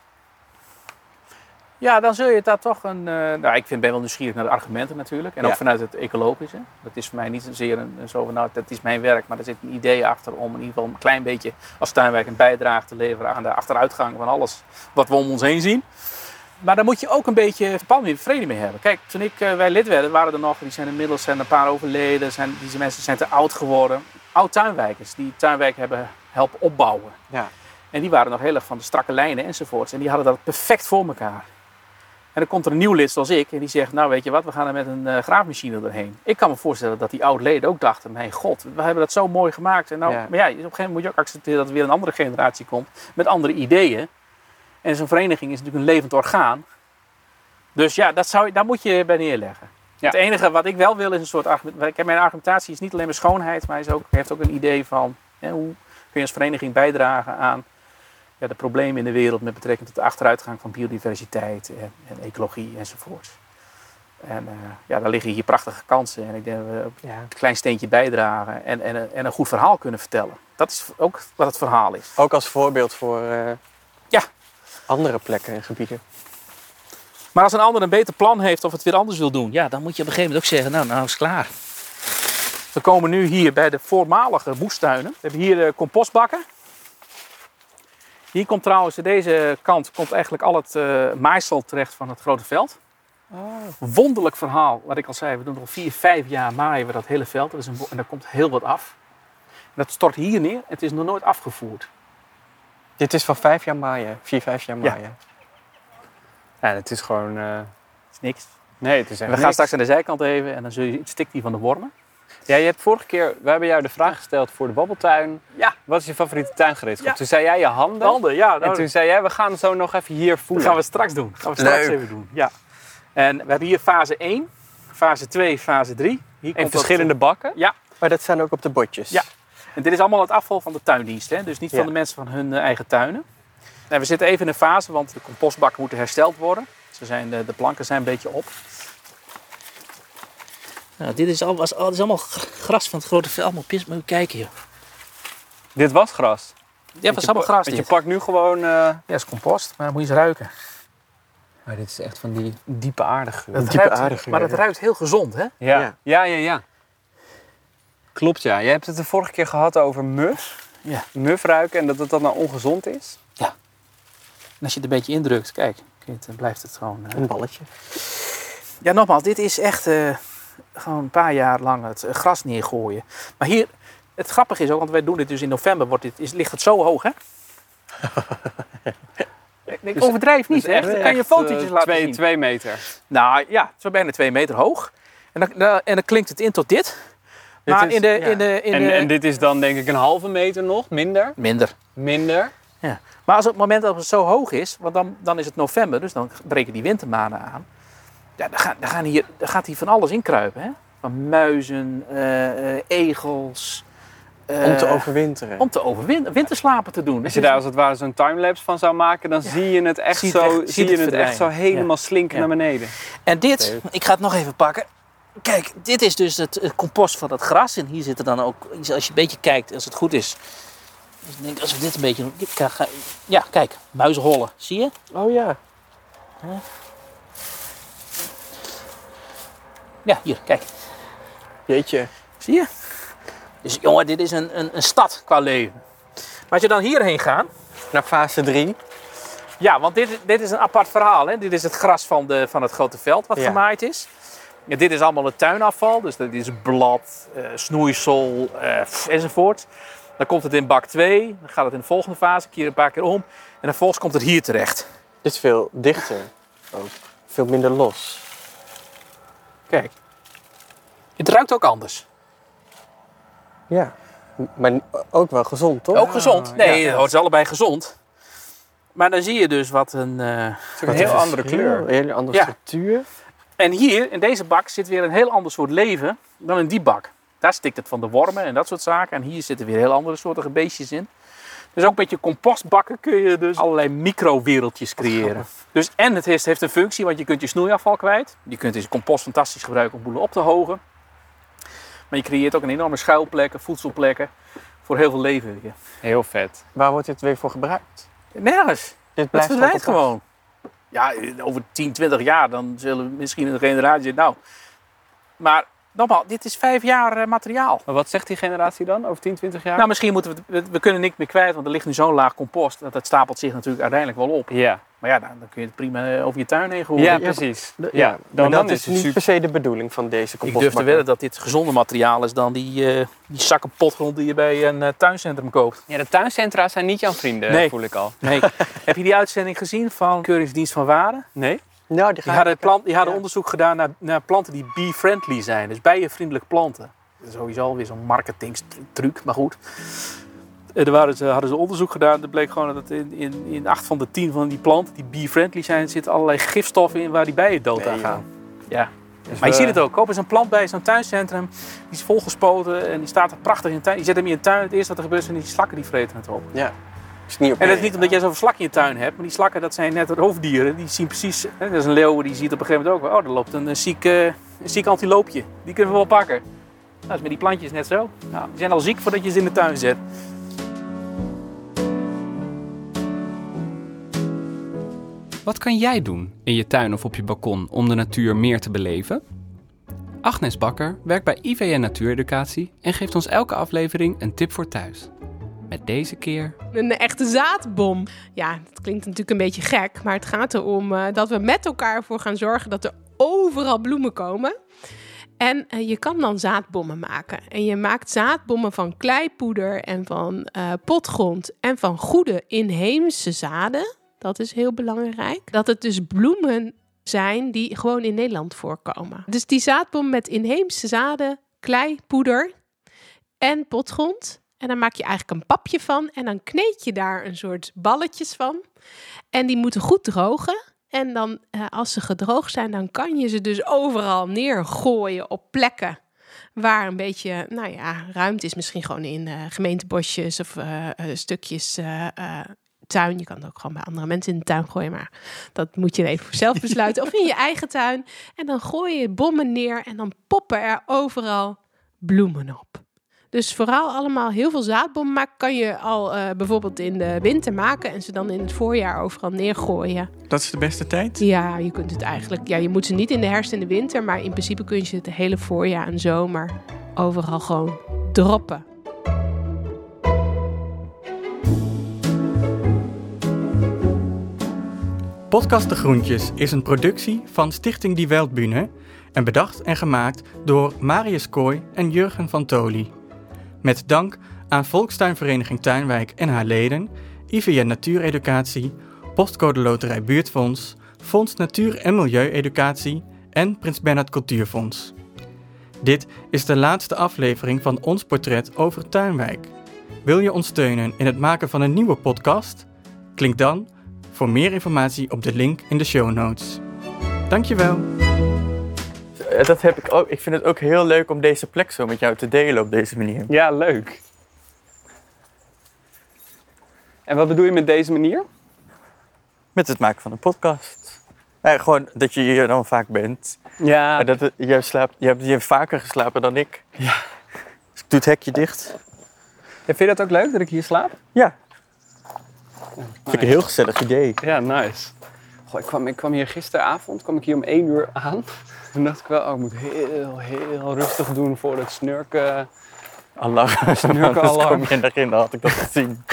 [SPEAKER 9] Ja, dan zul je daar toch een... eh, nou, ik vind, ben wel nieuwsgierig naar de argumenten natuurlijk. En ook
[SPEAKER 1] Ja.
[SPEAKER 9] vanuit het ecologische. Dat is voor mij niet zozeer een, een zo van, nou, dat is mijn werk. Maar er zit een idee achter om in ieder geval een klein beetje als tuinwerk een bijdrage te leveren aan de achteruitgang van alles wat we om ons heen zien. Maar daar moet je ook een beetje verband mee, vrede mee hebben. Kijk, toen ik, eh, wij lid werden, waren er nog, die zijn inmiddels zijn er een paar overleden. Zijn, die mensen zijn te oud geworden. Oud tuinwijkers, die tuinwijk hebben helpen opbouwen.
[SPEAKER 1] Ja.
[SPEAKER 9] En die waren nog heel erg van de strakke lijnen enzovoorts. En die hadden dat perfect voor elkaar. En dan komt er een nieuw lid zoals ik en die zegt, nou weet je wat, we gaan er met een eh, graafmachine doorheen. Ik kan me voorstellen dat die oud-leden ook dachten, mijn god, we hebben dat zo mooi gemaakt. En nou,
[SPEAKER 1] Ja.
[SPEAKER 9] Maar ja, op een gegeven moment moet je ook accepteren dat er weer een andere generatie komt met andere ideeën. En zo'n vereniging is natuurlijk een levend orgaan. Dus ja, dat zou, je- daar moet je bij neerleggen. Het enige wat ik wel wil is een soort argument. ik heb- Mijn argumentatie is niet alleen maar schoonheid, maar is ook, heeft ook een idee van hè, hoe kun je als vereniging bijdragen aan ja, de problemen in de wereld met betrekking tot de achteruitgang van biodiversiteit en, en ecologie enzovoorts. En eh, ja, daar liggen hier prachtige kansen. En ik denk dat we op
[SPEAKER 1] Ja.
[SPEAKER 9] een klein steentje bijdragen en, en, en een goed verhaal kunnen vertellen. Dat is ook wat het verhaal is.
[SPEAKER 1] Ook als voorbeeld voor eh,
[SPEAKER 9] Ja.
[SPEAKER 1] andere plekken en gebieden.
[SPEAKER 9] Maar als een ander een beter plan heeft of het weer anders wil doen, ja, dan moet je op een gegeven moment ook zeggen, nou, nou is het klaar. We komen nu hier bij de voormalige moestuinen. We hebben hier de compostbakken. Hier komt trouwens, deze kant komt eigenlijk al het eh maaisel terecht van het grote veld. Wonderlijk verhaal, wat ik al zei. We doen er al vier, vijf jaar maaien we dat hele veld. Dat is een, wo- en daar komt heel wat af. En dat stort hier neer. Het is nog nooit afgevoerd.
[SPEAKER 1] Dit is van vijf jaar maaien, vier, vijf jaar
[SPEAKER 9] Ja.
[SPEAKER 1] maaien. Ja, het is gewoon... het
[SPEAKER 9] eh, is niks.
[SPEAKER 1] Nee, het is
[SPEAKER 9] En we gaan straks aan de zijkant even en dan zul je, het stikt hier van de wormen.
[SPEAKER 2] Ja, je hebt vorige keer, we hebben jou de vraag gesteld voor de babbeltuin.
[SPEAKER 9] Ja.
[SPEAKER 2] Wat is je favoriete tuingereedschap?
[SPEAKER 9] Ja.
[SPEAKER 2] Toen zei jij je handen.
[SPEAKER 9] Handen, ja, nou-
[SPEAKER 2] en toen zei jij, we gaan zo nog even hier
[SPEAKER 9] Dat
[SPEAKER 2] voelen.
[SPEAKER 9] gaan we straks doen. Dat gaan we straks
[SPEAKER 2] Leuk.
[SPEAKER 9] even doen. Ja. En we hebben hier fase 1, fase 2, fase 3. Hier
[SPEAKER 1] In verschillende
[SPEAKER 9] dat,
[SPEAKER 1] bakken?
[SPEAKER 9] Ja.
[SPEAKER 1] Maar dat zijn ook op de bordjes?
[SPEAKER 9] Ja. En dit is allemaal het afval van de tuindienst. Hè? Dus niet
[SPEAKER 1] Ja.
[SPEAKER 9] van de mensen van hun eh, eigen tuinen. En we zitten even in een fase, want de compostbakken moeten hersteld worden. Ze zijn, eh, de, de planken zijn een beetje op.
[SPEAKER 11] Nou, dit is, al, was, al- dit is allemaal gr- gras van het grote veld. Allemaal pis, moet je kijken hier.
[SPEAKER 2] Dit was gras.
[SPEAKER 9] Ja,
[SPEAKER 2] Want
[SPEAKER 9] was
[SPEAKER 2] je
[SPEAKER 9] allemaal
[SPEAKER 2] pa-
[SPEAKER 9] gras
[SPEAKER 2] Want
[SPEAKER 9] dit.
[SPEAKER 2] je pakt nu gewoon... eh,
[SPEAKER 9] Ja, is compost, maar moet je eens ruiken.
[SPEAKER 2] Maar dit is echt van die diepe aardige
[SPEAKER 9] Dat ruikt- maar dat ruikt heel gezond, hè?
[SPEAKER 2] Ja. Ja. ja, ja, Klopt, ja. Je hebt het de vorige keer gehad over muf.
[SPEAKER 9] Ja.
[SPEAKER 2] Muf ruiken en dat het dan nou ongezond is.
[SPEAKER 9] En als je het een beetje indrukt, kijk, kun je het- dan blijft het gewoon... eh,
[SPEAKER 1] Een balletje.
[SPEAKER 9] Ja, nogmaals, dit is echt eh, gewoon een paar jaar lang het eh, gras neergooien. Maar hier, het grappige is ook, want wij doen dit dus in november, wordt dit, is, ligt het zo hoog, hè? ik ik overdrijf niet,
[SPEAKER 2] dus
[SPEAKER 9] hè?
[SPEAKER 2] echt-
[SPEAKER 9] Dan kan je
[SPEAKER 2] echt,
[SPEAKER 9] fotootjes
[SPEAKER 2] eh,
[SPEAKER 9] laten
[SPEAKER 2] twee-
[SPEAKER 9] zien.
[SPEAKER 2] twee meter.
[SPEAKER 9] Nou ja, zo bijna twee meter hoog. En dan, dan- en dan klinkt het in tot dit.
[SPEAKER 2] Dit
[SPEAKER 9] Maar
[SPEAKER 2] is-
[SPEAKER 9] in de...
[SPEAKER 2] ja.
[SPEAKER 9] In de, in
[SPEAKER 2] en,
[SPEAKER 9] de
[SPEAKER 2] en dit is dan denk ik een halve meter nog, minder.
[SPEAKER 9] Minder.
[SPEAKER 2] Minder.
[SPEAKER 9] Ja. Maar als op het moment dat het zo hoog is, want dan, dan is het november, dus dan breken die wintermaanden aan. Ja, dan, gaan, dan, gaan hier, dan gaat hier van alles inkruipen. Hè? Van muizen, eh, eh, egels,
[SPEAKER 14] Om te
[SPEAKER 9] eh,
[SPEAKER 14] overwinteren.
[SPEAKER 9] Om te overwin- winterslapen te doen.
[SPEAKER 2] Als
[SPEAKER 9] Dus
[SPEAKER 2] je daar als het ware zo'n timelapse van zou maken, dan zie je het echt
[SPEAKER 9] Zie je
[SPEAKER 2] zo,
[SPEAKER 9] het echt-
[SPEAKER 2] zie
[SPEAKER 9] ziet
[SPEAKER 2] je
[SPEAKER 9] het
[SPEAKER 2] het echt zo
[SPEAKER 9] verdwijnen.
[SPEAKER 2] helemaal
[SPEAKER 9] Ja.
[SPEAKER 2] slinken
[SPEAKER 9] Ja.
[SPEAKER 2] naar beneden.
[SPEAKER 11] En dit, ik ga het nog even pakken. Kijk, dit is dus het, eh, compost van dat gras. En hier zit er dan ook, als je een beetje kijkt, als het goed is. Dus ik denk, als we dit een beetje doen. dit kan ga- Ja, kijk, muizenhollen. Zie je?
[SPEAKER 14] Oh ja.
[SPEAKER 11] Ja, hier, kijk.
[SPEAKER 14] Jeetje.
[SPEAKER 11] Zie je? Dus jongen, dit is een, een, een stad qua leven.
[SPEAKER 9] Maar als je dan hierheen gaat.
[SPEAKER 14] Naar fase 3.
[SPEAKER 9] Ja, want dit, dit is een apart verhaal. Hè? Dit is het gras van, de, van het grote veld wat
[SPEAKER 14] Ja.
[SPEAKER 9] gemaaid is. Ja, dit is allemaal het tuinafval. Dus dit is blad, eh, snoeisel eh, pff, enzovoort. Dan komt het in bak 2. Dan gaat het in de volgende fase. Keer een paar keer om. En vervolgens komt het hier terecht.
[SPEAKER 14] Dit is veel dichter. Ook. Veel minder los.
[SPEAKER 9] Kijk. Het ruikt ook anders.
[SPEAKER 14] Ja. Maar ook wel gezond, toch? Ah,
[SPEAKER 9] ook gezond. Nee,
[SPEAKER 14] Ja.
[SPEAKER 9] het is allebei gezond. Maar dan zie je dus wat een... eh,
[SPEAKER 14] Wat
[SPEAKER 9] wat een verschil.
[SPEAKER 14] Een hele andere
[SPEAKER 9] Ja.
[SPEAKER 14] structuur.
[SPEAKER 9] En hier, in deze bak, zit weer een heel ander soort leven dan in die bak. Daar stikt het van de wormen en dat soort zaken. En hier zitten weer heel andere soorten beestjes in. Dus ook met je compostbakken kun je dus allerlei microwereldjes creëren. Dus en het heeft, heeft een functie, want je kunt je snoeiafval kwijt. Je kunt deze compost fantastisch gebruiken om boelen op te hogen. Maar je creëert ook een enorme schuilplekken, voedselplekken voor heel veel leven weer.
[SPEAKER 2] Heel vet.
[SPEAKER 14] Waar wordt dit weer voor gebruikt?
[SPEAKER 9] Nergens.
[SPEAKER 14] Dit
[SPEAKER 9] Het
[SPEAKER 14] blijft
[SPEAKER 9] verdwijnt
[SPEAKER 14] altijd
[SPEAKER 9] gewoon. Ja, over 10, 20 jaar dan zullen we misschien een generatie. Nou, maar nogmaals, dit is vijf jaar eh, materiaal.
[SPEAKER 2] Maar wat zegt die generatie dan over 10, 20 jaar?
[SPEAKER 9] Nou, misschien moeten we, het- we, we kunnen niks meer kwijt, want er ligt nu zo'n laag compost. Dat, dat stapelt zich natuurlijk uiteindelijk wel op.
[SPEAKER 2] ja.
[SPEAKER 9] Maar ja, dan, dan kun je het prima eh, over je tuin heen gooien.
[SPEAKER 2] Ja, precies. Ja,
[SPEAKER 9] ja.
[SPEAKER 2] Dan,
[SPEAKER 9] Maar
[SPEAKER 2] dan
[SPEAKER 9] dat
[SPEAKER 2] is
[SPEAKER 9] is
[SPEAKER 2] het
[SPEAKER 9] niet
[SPEAKER 2] super.
[SPEAKER 14] per se de bedoeling van deze
[SPEAKER 9] Ik durf te
[SPEAKER 14] compostbakken.
[SPEAKER 9] wedden dat dit gezonder materiaal is dan die, eh, die zakken potgrond die je bij een eh, tuincentrum koopt.
[SPEAKER 15] Ja, de tuincentra zijn niet jouw vrienden,
[SPEAKER 9] Nee.
[SPEAKER 15] voel ik al.
[SPEAKER 9] Nee. Heb je die uitzending gezien van Keuringsdienst van Waarde?
[SPEAKER 15] Nee.
[SPEAKER 14] Nou, die
[SPEAKER 9] Die
[SPEAKER 14] gaan...
[SPEAKER 9] hadden, plant, die hadden onderzoek gedaan naar, naar planten die bee-friendly zijn. Dus bijenvriendelijk planten. Dat is sowieso alweer zo'n marketingstruc, maar goed. Eh, Er waren ze, hadden ze onderzoek gedaan. Er bleek gewoon dat in, in, in 8 van de 10 van die planten die bee-friendly zijn... zitten allerlei gifstoffen in waar die bijen dood aan gaan. Ja.
[SPEAKER 15] Dus
[SPEAKER 9] maar je
[SPEAKER 2] we-
[SPEAKER 9] ziet het ook. Koop eens een plant bij zo'n tuincentrum. Die is volgespoten en die staat er prachtig in de tuin. Je zet hem in je tuin. Het eerste wat er gebeurt zijn die slakken die vreten het op.
[SPEAKER 14] Ja. Is niet op
[SPEAKER 9] En dat is niet omdat jij zo'n slak in je tuin hebt, maar die slakken dat zijn net roofdieren. Die zien precies, hè, dat is een leeuw die ziet op een gegeven moment ook, oh er loopt een, eh, ziek, eh, een ziek antiloopje. Die kunnen we wel pakken. Nou, dat is met die plantjes net zo. Nou, die zijn al ziek voordat je ze in de tuin zet.
[SPEAKER 16] Wat kan jij doen in je tuin of op je balkon om de natuur meer te beleven? Agnes Bakker werkt bij IVN Natuureducatie en geeft ons elke aflevering een tip voor thuis. Met deze keer.
[SPEAKER 7] Een echte zaadbom. Ja, dat klinkt natuurlijk een beetje gek, maar het gaat erom eh, dat we met elkaar ervoor gaan zorgen dat er overal bloemen komen. En eh, je kan dan zaadbommen maken. En je maakt zaadbommen van kleipoeder en van eh, potgrond en van goede inheemse zaden. Dat is heel belangrijk. Dat het dus bloemen zijn die gewoon in Nederland voorkomen. Dus die zaadbom met inheemse zaden, kleipoeder, en potgrond. En dan maak je eigenlijk een papje van. En dan kneed je daar een soort balletjes van. En die moeten goed drogen. En dan, eh, als ze gedroogd zijn, dan kan je ze dus overal neergooien op plekken. Waar een beetje, nou ja, ruimte is. Misschien gewoon in eh, gemeentebosjes of eh, eh, stukjes eh, eh, tuin. Je kan het ook gewoon bij andere mensen in de tuin gooien. Maar dat moet je even voor zelf besluiten. of in je eigen tuin. En dan gooi je bommen neer. En dan poppen er overal bloemen op. Dus vooral allemaal heel veel zaadbommen maken kan je al eh, bijvoorbeeld in de winter maken en ze dan in het voorjaar overal neergooien.
[SPEAKER 1] Dat is de beste tijd.
[SPEAKER 7] Ja, je kunt het eigenlijk. Ja, je moet ze niet in de herfst en de winter, maar in principe kun je ze het hele voorjaar en zomer overal gewoon droppen.
[SPEAKER 1] Podcast De Groentjes is een productie van Stichting Die Weltbühne en bedacht en gemaakt door Marius Kooi en Jurgen van Toli. Met dank aan Volkstuinvereniging Tuinwijk en haar leden, IVN Natuureducatie, Postcode Loterij Buurtfonds, Fonds Natuur en Milieueducatie en Prins Bernhard Cultuurfonds. Dit is de laatste aflevering van ons portret over Tuinwijk. Wil je ons steunen in het maken van een nieuwe podcast? Klik dan voor meer informatie op de link in de show notes. Dankjewel.
[SPEAKER 14] Eh, Dat heb ik ook. Ik vind het ook heel leuk om deze plek zo met jou te delen op deze manier.
[SPEAKER 2] Ja, leuk. En wat bedoel je met deze manier?
[SPEAKER 1] Met het maken van een podcast. Eh, gewoon dat je hier dan vaak bent.
[SPEAKER 2] Ja.
[SPEAKER 1] Maar dat het- jij slaapt, je, hebt, je hebt vaker geslapen dan ik. Ja. Dus ik doe het hekje dicht.
[SPEAKER 2] vind je dat ook leuk dat ik hier slaap?
[SPEAKER 1] Ja. Vind ik een heel gezellig idee.
[SPEAKER 2] Ja, nice. Goh, ik, kwam, ik kwam hier gisteravond, kwam ik hier om 1 uur aan. Toen dacht ik wel, oh, ik moet heel, heel rustig doen voor het snurken.
[SPEAKER 1] Alarm.
[SPEAKER 2] Snurkenalarm.
[SPEAKER 1] Anders kom je in de dan had ik dat gezien.